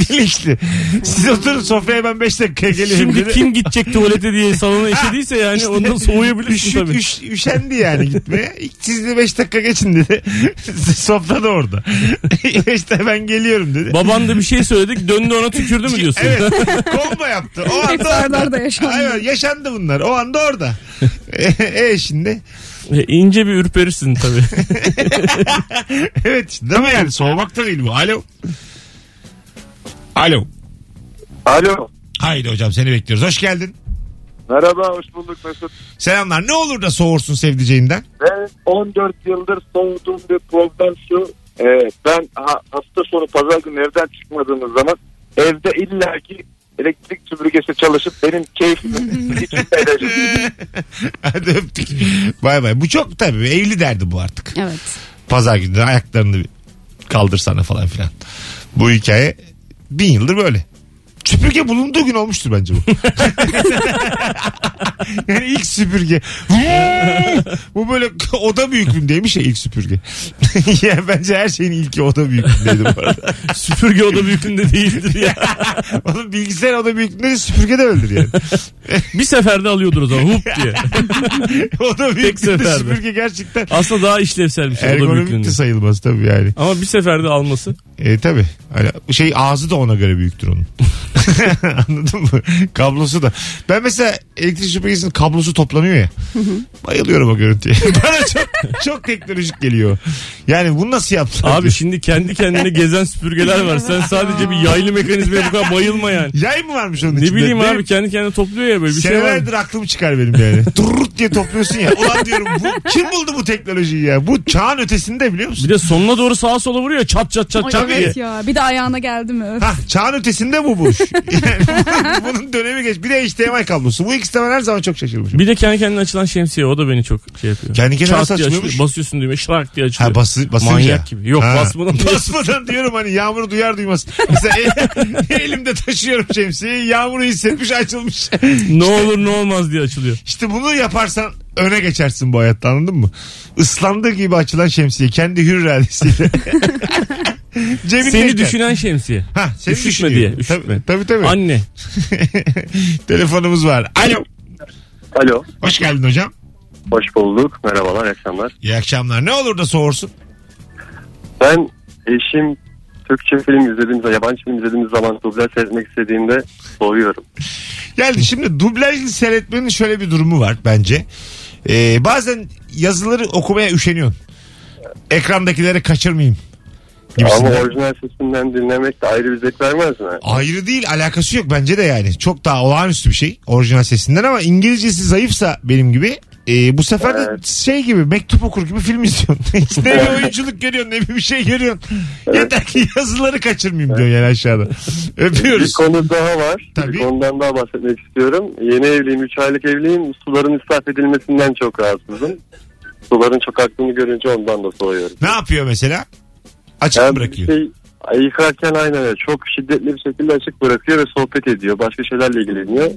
B: bilinçli. Siz oturun sofraya ben 5 dakikaya geliyorum.
D: Şimdi
B: dedi.
D: kim gidecek tuvalete diye salona işediyse yani
B: İşte
D: Hani ondan soğuyabilirsin
B: üşü-
D: tabii.
B: üş- üşendi yani gitmeye. Siz de 5 dakika geçin dedi. Sofra da orada. işte ben geliyorum dedi.
D: Baban da bir şey söyledik döndü ona tükürdü mü diyorsun?
B: Evet. Kombo yaptı. O
C: Hep
B: anda
C: Serdar'da
B: orada.
C: yaşandı.
B: Aynen, yaşandı bunlar. O anda orada. E, e şimdi.
D: E, İnce bir ürperirsin tabii.
B: Evet. Değil mi yani? Soğumak da değil bu. Alo. Alo.
I: Alo.
B: Haydi hocam seni bekliyoruz. Hoş geldin.
I: Merhaba hoş bulduk Mesut.
B: Selamlar. Ne olur da soğursun sevdiceğinden.
I: Ben 14 yıldır soğuduğum bir problem şu. Ee, ben ha- hafta sonu pazar günü evden çıkmadığımız zaman evde illaki elektrik süpürgesi çalışıp benim keyfimin içindeydi.
B: Hadi öptük. Bay bay. Bu çok tabii evli derdi bu artık.
C: Evet.
B: Pazar günü de ayaklarını bir kaldırsana falan filan. Bu hikaye bin yıldır böyle. Süpürge bulunduğu gün olmuştur bence bu. yani ilk süpürge. bu böyle oda büyüklüğündeymiş ya ilk süpürge. yani bence her şeyin ilki oda büyüklüğündeydi bu arada.
D: Süpürge oda büyüklüğünde değildir ya.
B: Oğlum bilgisayar oda büyüklüğünde süpürge de öldür yani.
D: Bir seferde alıyordur o zaman hup diye.
B: oda büyüklüğünde
D: seferde.
B: süpürge gerçekten
D: Aslında daha işlevsel bir şey oda
B: ergonomik
D: büyüklüğünde.
B: de sayılmaz tabii yani.
D: Ama bir seferde alması.
B: E tabi. şey ağzı da ona göre büyüktür onun. Anladın mı? Kablosu da. Ben mesela elektrik süpürgesinin kablosu toplanıyor ya. Bayılıyorum o görüntüye. Bana çok, çok teknolojik geliyor. Yani bunu nasıl yaptılar?
D: Abi şimdi kendi kendine gezen süpürgeler var. Sen sadece bir yaylı mekanizmaya bu kadar bayılma yani.
B: Yay mı varmış onun
D: Ne
B: içinde?
D: bileyim
B: Benim
D: abi kendi kendine topluyor ya böyle bir şey var.
B: Senelerdir aklım çıkar benim yani. Durrut diye topluyorsun ya. Ulan diyorum bu, kim buldu bu teknolojiyi ya? Bu çağın ötesinde biliyor musun?
D: Bir de sonuna doğru sağa sola vuruyor çat çat çat
C: Ay,
D: çat diye.
C: evet ya. Bir de ayağına geldi mi? Öf.
B: Hah çağın ötesinde bu buluş. Yani bunun dönemi geç. Bir de HDMI kablosu. Bu ikisi de ben her zaman çok şaşırmışım.
D: Bir de kendi kendine açılan şemsiye o da beni çok şey yapıyor.
B: Kendi kendine
D: Çat
B: nasıl
D: diye
B: açılıyormuş?
D: açılıyor, Basıyorsun düğmeye şlak diye açılıyor.
B: Ha bası, basınca.
D: Manyak gibi. Yok
B: Ha.
D: basmadan.
B: Basmadan diyorum hani yağmuru duyar duymaz. Mesela el- elimde taşıyorum şemsiyeyi yağmuru hissetmiş açılmış.
D: ne olur ne olmaz diye açılıyor.
B: İşte bunu yaparsan öne geçersin bu hayatta anladın mı? Islandığı gibi açılan şemsiye kendi hür iradesiyle. Cebindeyken.
D: Seni düşünen şemsiye.
B: Ha, seni
D: Üşütme
B: düşünüyor.
D: diye, üşütme.
B: Tabii tabii. tabii.
D: Anne.
B: Telefonumuz var. Alo.
I: Alo
B: Hoş geldin hocam.
I: hoş bulduk merhabalar akşamlar.
B: İyi akşamlar. Ne olur da soğursun.
I: Ben eşim Türkçe film izlediğimiz yabancı film izlediğimiz zaman dublaj seyretmek istediğimde soğuyorum.
B: Yani şimdi dublajlı seyretmenin şöyle bir durumu var bence. Ee, bazen yazıları okumaya üşeniyorsun. Ekrandakileri kaçırmayayım.
I: Ama
B: Gibisinden.
I: orijinal sesinden dinlemek de ayrı bir zevk vermez mi?
B: Ayrı değil alakası yok bence de yani. Çok daha olağanüstü bir şey orijinal sesinden ama İngilizcesi zayıfsa benim gibi e, bu sefer de şey gibi mektup okur gibi film izliyorsun. Hiç ne bir oyunculuk görüyorsun ne bir şey görüyorsun. Yeter ki yazıları kaçırmayayım diyor yani aşağıda.
I: Bir
B: Öpüyoruz.
I: konu daha var.
B: Tabii.
I: Bir konudan daha bahsetmek istiyorum. Yeni evliyim, 3 aylık evliyim. Suların israf edilmesinden çok rahatsızım. Suların çok aktığını görünce ondan da soğuyorum.
B: Ne yapıyor mesela? Açık mı
I: Yani
B: bırakıyor.
I: bir Şey, ay, yıkarken aynen öyle. Çok şiddetli bir şekilde açık bırakıyor ve sohbet ediyor. Başka şeylerle ilgileniyor.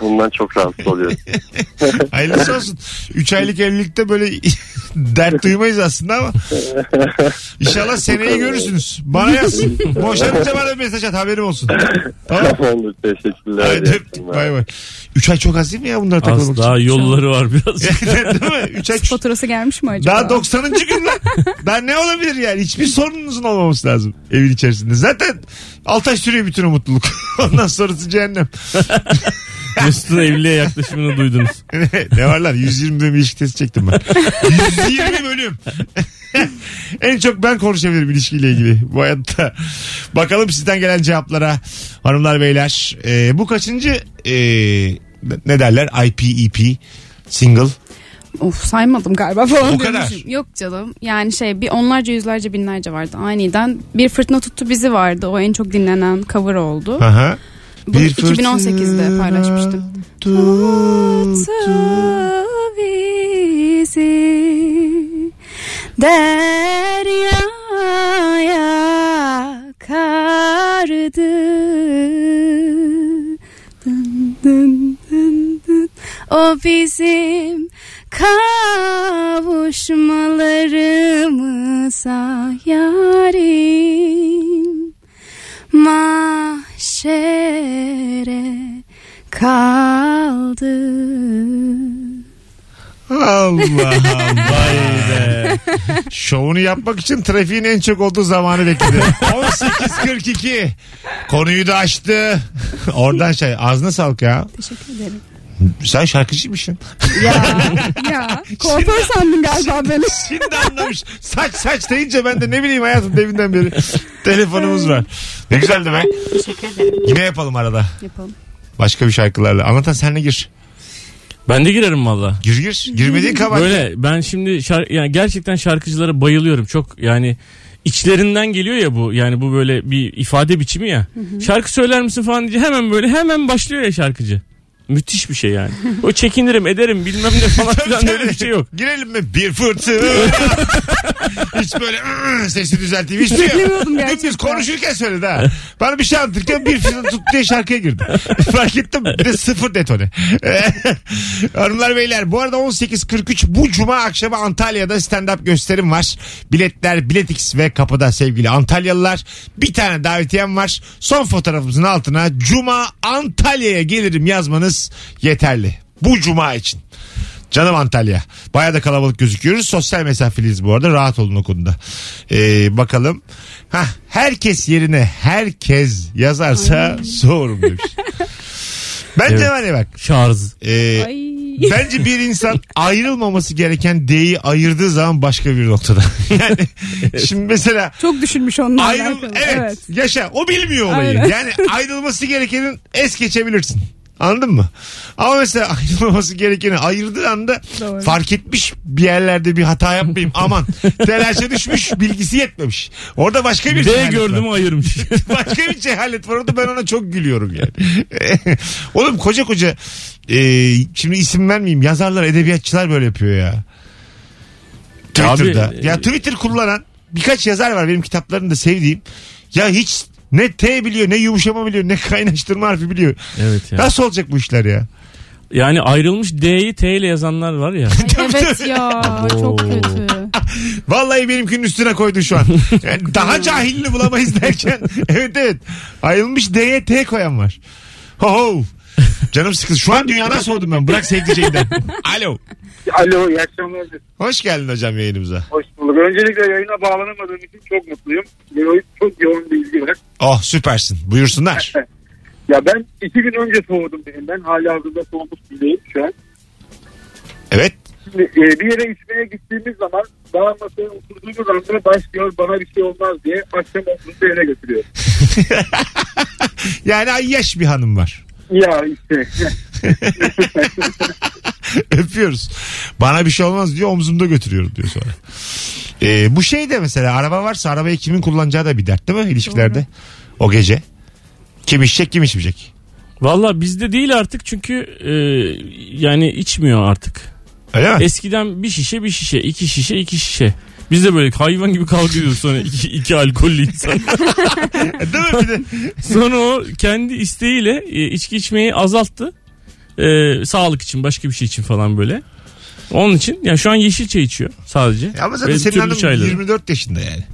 I: Bundan çok rahatsız oluyorum.
B: Hayırlısı olsun. 3 aylık evlilikte böyle dert duymayız aslında ama. İnşallah seneye görürsünüz. Bana yaz. Boşanınca bana bir mesaj at haberim olsun. Tamam.
I: Tamamdır. Teşekkürler.
B: Haydi
I: İyi
B: öptük.
I: akşamlar.
B: Bay bay. 3 ay çok az değil mi ya bunlara
D: Az
B: takılmak için?
D: daha yolları var biraz.
B: Değil mi? 3 ay çok-
C: Faturası gelmiş mi acaba?
B: daha 90. gün lan. Daha ne olabilir yani? Hiçbir sorununuzun olmaması lazım evin içerisinde. Zaten 6 ay sürüyor bütün o mutluluk. Ondan sonrası cehennem.
D: Mesut'un evliliğe yaklaşımını duydunuz.
B: ne var lan 120 bölüm ilişki testi çektim ben. 120 bölüm. en çok ben konuşabilirim ilişkiyle ilgili bu hayatta. Bakalım sizden gelen cevaplara hanımlar beyler. Ee, bu kaçıncı ee, ne derler IP EP single
C: Of saymadım galiba falan
B: O kadar.
C: demişim. Yok canım yani şey bir onlarca yüzlerce binlerce vardı aniden. Bir fırtına tuttu bizi vardı o en çok dinlenen cover oldu.
B: Aha.
C: Bunu 2018'de paylaşmıştım. Tuttu bizi deryaya kardı. Dın dın dın dın. O bizim kavuşmalarımıza ah yarim mahşere kaldı.
B: Allah Allah. Şovunu yapmak için trafiğin en çok olduğu zamanı bekledi. 18.42. Konuyu da açtı. Oradan şey ağzına sağlık ya.
C: Teşekkür ederim.
B: Sen şarkıcıymışsın.
C: Ya, ya. Kuaför sandım galiba beni.
B: Şimdi anlamış. Saç saç deyince ben de ne bileyim hayatım deminden beri. Telefonumuz var. Ne güzeldi be.
C: Teşekkür ederim.
B: Yine yapalım arada.
C: Yapalım.
B: Başka bir şarkılarla. Anlatan senle gir.
D: Ben de girerim valla.
B: Gir gir. Girmediğin kabahat.
D: Böyle ben şimdi şar- yani gerçekten şarkıcılara bayılıyorum. Çok yani içlerinden geliyor ya bu. Yani bu böyle bir ifade biçimi ya. Şarkı söyler misin falan diye hemen böyle hemen başlıyor ya şarkıcı. Müthiş bir şey yani. O çekinirim ederim bilmem ne falan filan öyle bir şey yok.
B: Girelim mi? Bir fırtına. Hiç böyle "Iı" sesi düzelteyim. Hiçbir şey yok.
C: Beklemiyordum
B: Dümdüz
C: gerçekten.
B: konuşurken söyledi ha. Bana bir şey anlatırken bir fırtına tut diye şarkıya girdi. Fark ettim. Bir de sıfır detone. Hanımlar beyler bu arada 18.43 bu cuma akşamı Antalya'da stand-up gösterim var. Biletler Biletix ve kapıda sevgili Antalyalılar. Bir tane davetiyem var. Son fotoğrafımızın altına cuma Antalya'ya gelirim yazmanız yeterli. Bu cuma için. Canım Antalya. Baya da kalabalık gözüküyoruz. Sosyal mesafeliyiz bu arada. Rahat olun o konuda. Ee, bakalım. Hah, herkes yerine herkes yazarsa soğurum demiş. Bence
D: Evet.
B: var ya bak.
D: Şarj.
B: ee,
C: Ay.
B: bence bir insan ayrılmaması gereken D'yi ayırdığı zaman başka bir noktada. yani şimdi mesela
C: Çok düşünmüş onlar.
B: ayrıl
C: alakalı.
B: evet, yaşa o bilmiyor olayı.
C: Aynen.
B: Yani ayrılması gerekenin es geçebilirsin. Anladın mı? Ama mesela ayrılması gerekeni ayırdığı anda
C: Doğru.
B: fark etmiş bir yerlerde bir hata yapmayayım aman telaşa düşmüş bilgisi yetmemiş. Orada başka bir
D: D
B: cehalet
D: gördüm
B: var.
D: ayırmış.
B: Başka bir cehalet var orada ben ona çok gülüyorum yani. Oğlum koca koca e, şimdi isim vermeyeyim yazarlar edebiyatçılar böyle yapıyor ya. Twitter'da.
D: Abi, e-
B: ya Twitter kullanan birkaç yazar var benim kitaplarını da sevdiğim. Ya hiç ne T biliyor ne yumuşama biliyor ne kaynaştırma harfi biliyor.
D: evet ya.
B: Nasıl olacak bu işler ya?
D: Yani ayrılmış D'yi T ile yazanlar var ya.
C: Ay, evet ya çok kötü.
B: Vallahi benimkinin üstüne koydun şu an. Yani daha cahilini bulamayız derken. evet evet. Ayrılmış D'ye T koyan var. Ho ho. Canım sıkıldı. Şu an dünyadan soğudum ben. Bırak sevdiceğinden. Alo.
E: Alo iyi akşamlar.
B: Hoş geldin hocam yayınımıza.
E: Hoş bulduk. Öncelikle yayına bağlanamadığım için çok mutluyum. Yayın çok yoğun bilgi var.
B: Oh süpersin. Buyursunlar.
E: Ya ben iki gün önce soğudum birinden. Hala hazırda soğumuş biriyim şu an.
B: Evet.
E: Şimdi e, bir yere içmeye gittiğimiz zaman daha masaya oturduğumuz anda başlıyor bana bir şey olmaz diye akşam oturduğu yere götürüyor.
B: Yani ay yaş bir hanım var.
E: Ya işte.
B: Öpüyoruz. Bana bir şey olmaz diyor omzumda götürüyorum diyor sonra. Ee, bu şey de mesela araba varsa arabayı kimin kullanacağı da bir dert değil mi ilişkilerde? O gece. Kim içecek kim içmeyecek.
D: Valla bizde değil artık çünkü e, yani içmiyor artık.
B: Öyle
D: E,
B: mi?
D: Eskiden bir şişe bir şişe, iki şişe iki şişe. Biz de böyle hayvan gibi kavga ediyoruz sonra iki, iki alkollü insan.
B: değil mi bir de?
D: Sonra o kendi isteğiyle e, içki içmeyi azalttı. E, sağlık için başka bir şey için falan böyle. Onun için yani şu an yeşil çay içiyor sadece.
B: Ama zaten
D: Ve
B: senin
D: türlü
B: hanım
D: çayları.
B: 24 yaşında yani.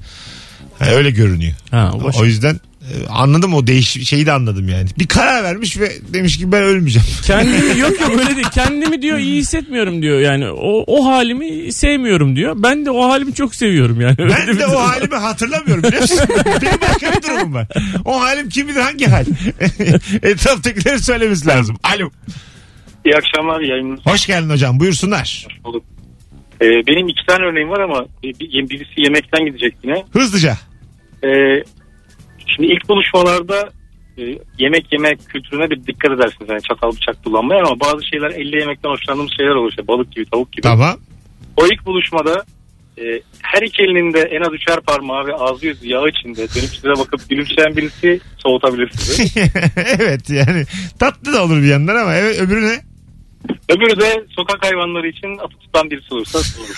B: Ha, öyle görünüyor.
D: Ha, o başka.
B: O yüzden e, anladım o değiş şeyi de anladım yani. Bir karar vermiş ve demiş ki ben ölmeyeceğim.
D: Kendimi yok yok öyle değil. Kendimi diyor iyi hissetmiyorum diyor. Yani o, o halimi sevmiyorum diyor. Ben de o halimi çok seviyorum yani. Öyle
B: Ben
D: bir
B: de
D: durum.
B: o halimi hatırlamıyorum biliyor musun? Benim başka bir durumum var. O halim kim bilir hangi hal? Etraftakileri söylemesi lazım. Alo.
F: İyi akşamlar yayınınız
B: Hoş geldin hocam buyursunlar.
F: olduk. Ee, benim iki tane örneğim var ama e, bir- birisi yemekten gidecek yine.
B: Hızlıca.
F: Ee, şimdi ilk buluşmalarda e, yemek yemek kültürüne bir dikkat edersiniz. Yani çatal bıçak kullanmaya ama bazı şeyler elle yemekten hoşlandığım şeyler olur. İşte balık gibi tavuk gibi.
B: Tamam.
F: O ilk buluşmada e, her iki elinin de en az üçer parmağı ve ağzı yüzü yağ içinde dönüp size bakıp gülümseyen birisi soğutabilir sizi.
B: evet yani tatlı da olur bir yandan ama evet, öbürü ne?
F: Öbürü de sokak hayvanları için atı tutan birisi olursa olur.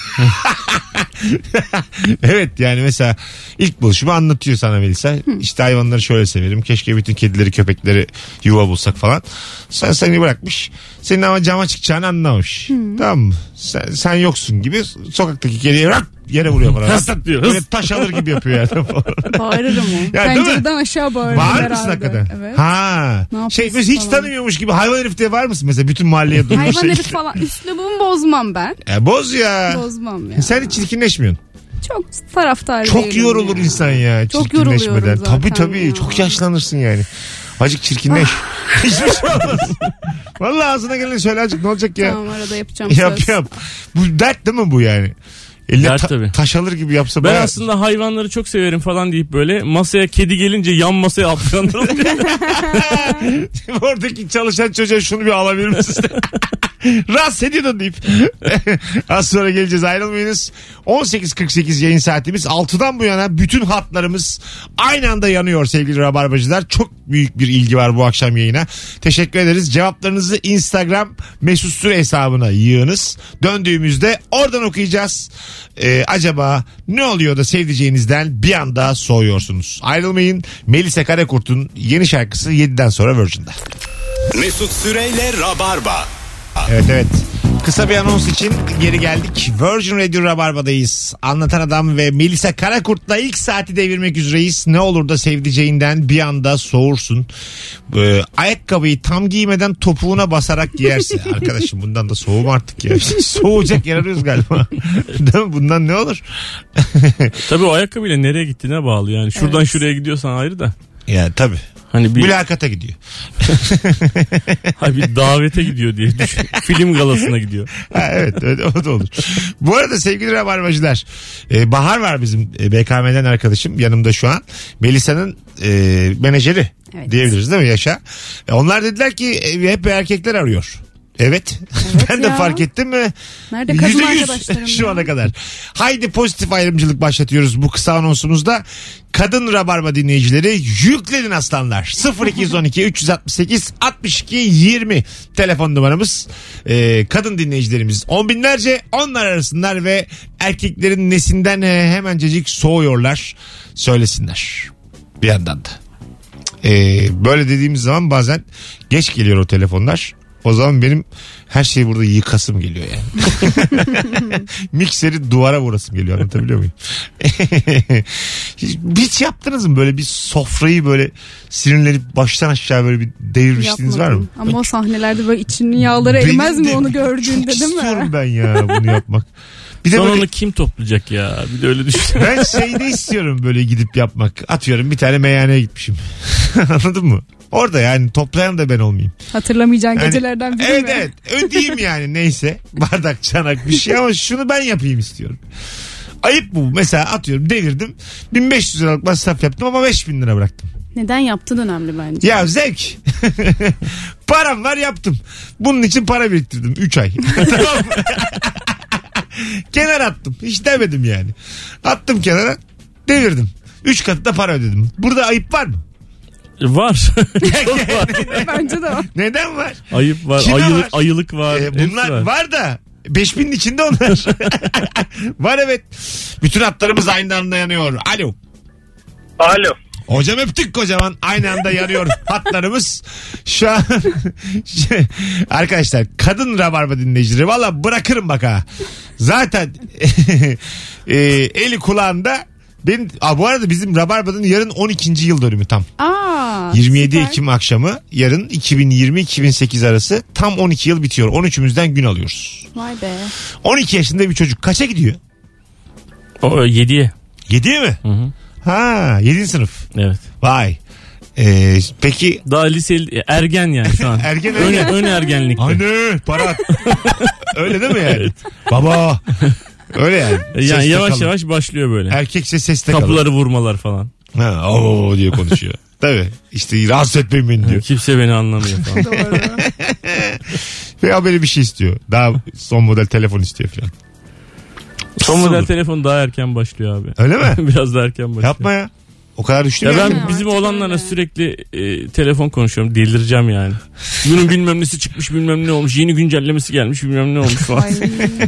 B: evet yani mesela ilk buluşumu anlatıyor sana Melisa. İşte hayvanları şöyle severim. Keşke bütün kedileri köpekleri yuva bulsak falan. Sen seni bırakmış. Senin ama cama çıkacağını anlamamış. Tamam mı? Sen, sen yoksun gibi sokaktaki kediye rak yere vuruyor bana.
D: Hız diyor, hız.
B: Böyle taş alır gibi yapıyor yani.
C: Bağırırım o.
B: Ya, değil mi?
C: Pencereden aşağı bağırırım
B: Var
C: herhalde.
B: mısın hakikaten?
C: Evet.
B: Ha.
C: Ne
B: Şey
C: yapıyorsun
B: mesela hiç
C: falan.
B: tanımıyormuş gibi hayvan herif diye var mısın mesela bütün mahalleye durmuş
C: Hayvan herif
B: şekilde.
C: falan üslubumu bozmam ben.
B: E, boz ya.
C: Bozmam ya.
B: Sen hiç çirkinleşmiyorsun.
C: Çok taraftar
B: Çok yorulur insan ya
C: Çok
B: çirkinleşmeden.
C: yoruluyorum zaten
B: Tabii tabii
C: ya. Ah.
B: çok yaşlanırsın yani. Acık çirkinleş. Hiçbir şey olmaz. Vallahi ağzına geleni söyle acık ne olacak ya.
C: Tamam arada yapacağım
B: yap
C: söz.
B: yap. Bu dert değil mi bu yani? Elle
D: Dert
B: ta-
D: tabii.
B: taş alır gibi yapsa
D: Ben
B: bayağı-
D: aslında hayvanları çok severim falan deyip böyle masaya kedi gelince yan masaya atlayanlar oluyor.
B: Oradaki çalışan çocuğa şunu bir alabilir misin? Rahatsız ediyordun deyip. Az sonra geleceğiz ayrılmayınız. 18.48 yayın saatimiz. 6'dan bu yana bütün hatlarımız aynı anda yanıyor sevgili Rabarbacılar. Çok büyük bir ilgi var bu akşam yayına. Teşekkür ederiz. Cevaplarınızı Instagram mesut süre hesabına yığınız. Döndüğümüzde oradan okuyacağız. Ee, acaba ne oluyor da sevdiceğinizden bir anda soğuyorsunuz? Ayrılmayın. Melisa Karakurt'un yeni şarkısı 7'den sonra Virgin'de.
A: Mesut Süreyle Rabarba.
B: Evet evet. Kısa bir anons için geri geldik. Virgin Radio Rabarba'dayız. Anlatan Adam ve Melisa Karakurt'la ilk saati devirmek üzereyiz. Ne olur da sevdiceğinden bir anda soğursun. Ee, ayakkabıyı tam giymeden topuğuna basarak giyerse. Arkadaşım bundan da soğum artık ya. Soğuyacak yer arıyoruz galiba. Değil mi? Bundan ne olur?
D: Tabii o ayakkabıyla nereye gittiğine bağlı yani. Şuradan şuraya gidiyorsan ayrı da.
B: ya tabii.
D: Hani bir,
B: Mülakata gidiyor.
D: hani bir davete gidiyor diye düşün. Film galasına gidiyor.
B: Ha, evet öyle o da olur. Bu arada sevgili rabarbacılar e, Bahar var bizim e, BKM'den arkadaşım yanımda şu an. Melisa'nın e, menajeri
C: Evet.
B: diyebiliriz değil mi Yaşa? E, onlar dediler ki e, hep erkekler arıyor. Evet. ben de
C: ya.
B: fark ettim mi?
C: Nerede kadın
B: Yüzde yüz
C: arkadaşlarım
B: şu
C: ya?
B: ana kadar. Haydi pozitif ayrımcılık başlatıyoruz bu kısa anonsumuzda. Kadın Rabarba dinleyicileri yüklenin aslanlar. 0212 368 62 20 telefon numaramız. Ee, kadın dinleyicilerimiz on binlerce onlar arasınlar ve erkeklerin nesinden e, hemencecik soğuyorlar söylesinler bir yandan da. Ee, böyle dediğimiz zaman bazen geç geliyor o telefonlar. O zaman benim her şeyi burada yıkasım geliyor yani. Mikseri duvara vurasım geliyor anlatabiliyor muyum? Hiç, hiç yaptınız mı böyle bir sofrayı böyle sinirlenip baştan aşağı böyle bir devirmiştiniz var mı?
C: Yapmadım. Ama o sahnelerde böyle içinin yağları
B: Benim
C: erimez mi
B: de
C: onu gördüğünde
B: çok
C: değil mi?
B: istiyorum ben ya bunu yapmak. Bir de
D: Sonra
B: böyle
D: onu kim toplayacak ya? Bir de öyle düşün.
B: ben şeyde istiyorum böyle gidip yapmak. Atıyorum bir tane meyhaneye gitmişim. Anladın mı? Orada yani toplayan da ben olmayayım.
C: Hatırlamayacağın
B: Yani-
C: gecelerden biri
B: evet
C: mi?
B: evet ödeyeyim yani neyse bardak çanak bir şey ama şunu ben yapayım istiyorum. Ayıp bu mesela atıyorum devirdim 1500 liralık masraf yaptım ama 5000 lira bıraktım.
C: Neden yaptığın önemli bence.
B: Ya zevk Param var yaptım. Bunun için para biriktirdim 3 ay. tamam mı? Kenar attım. Hiç demedim yani. Attım kenara devirdim. 3 katı da para ödedim. Burada ayıp var mı?
D: Var. Çok var.
C: Bence de o.
B: Neden var?
D: Ayıp var.
B: Kime
D: Ayılık,
B: var?
D: ayılık var.
B: Ee,
D: hepsi
B: bunlar
D: var.
B: var. da 5000'in içinde onlar. var evet. Bütün hatlarımız aynı anda yanıyor. Alo.
F: Alo.
B: Hocam öptük kocaman. Aynı anda yanıyor hatlarımız. Şu an Şey, arkadaşlar kadın rabarba dinleyicileri valla bırakırım bak ha. Zaten e, eli kulağında benim, Aa, bu arada bizim Rabarba'nın yarın 12. yıl dönümü tam.
C: Aa,
B: 27
C: süper.
B: Ekim akşamı yarın 2020-2008 arası tam 12 yıl bitiyor. 13'ümüzden gün alıyoruz.
C: Vay be.
B: 12 yaşında bir çocuk kaça gidiyor?
D: O, yediye.
B: 7'ye mi?
D: hı.
B: Ha 7. sınıf.
D: Evet.
B: Vay. Ee, peki
D: Daha lise ergen yani şu an.
B: Ergen,
D: ön,
B: ergen.
D: ön ergenlikte.
B: anne para at. Öyle değil mi yani? Baba. Öyle yani.
D: E, Yani
B: Seste
D: yavaş
B: kalın.
D: yavaş başlıyor böyle.
B: Erkekse seste kalın.
D: Kapıları vurmalar falan.
B: Ha, o diye konuşuyor. Tabii. İşte rahatsız etmeyin beni diyor.
D: Kimse beni anlamıyor falan.
B: Veya böyle bir şey istiyor. Daha son model telefon istiyor falan.
D: Son model telefon daha erken başlıyor abi.
B: Öyle mi?
D: Biraz daha erken başlıyor.
B: Yapma ya. O kadar düştü
D: Ya
B: mü yani?
D: ben bizim
C: Artık
D: oğlanlarla
C: öyle.
D: sürekli e, telefon konuşuyorum. Delireceğim yani. Bunun bilmem nesi çıkmış bilmem ne olmuş. Yeni güncellemesi gelmiş bilmem ne olmuş falan.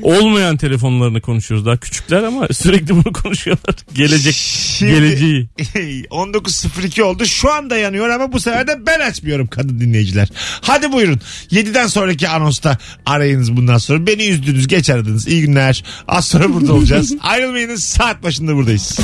D: Olmayan telefonlarını konuşuyoruz. Daha küçükler ama sürekli bunu konuşuyorlar. Gelecek.
B: Şimdi-
D: Geleceği.
B: 19.02 oldu. Şu anda yanıyor ama bu sefer de ben açmıyorum kadın dinleyiciler. Hadi buyurun. 7'den sonraki anonsta arayınız bundan sonra. Beni üzdünüz, geç aradınız. İyi günler. Az sonra burada olacağız. Ayrılmayınız. Saat başında buradayız.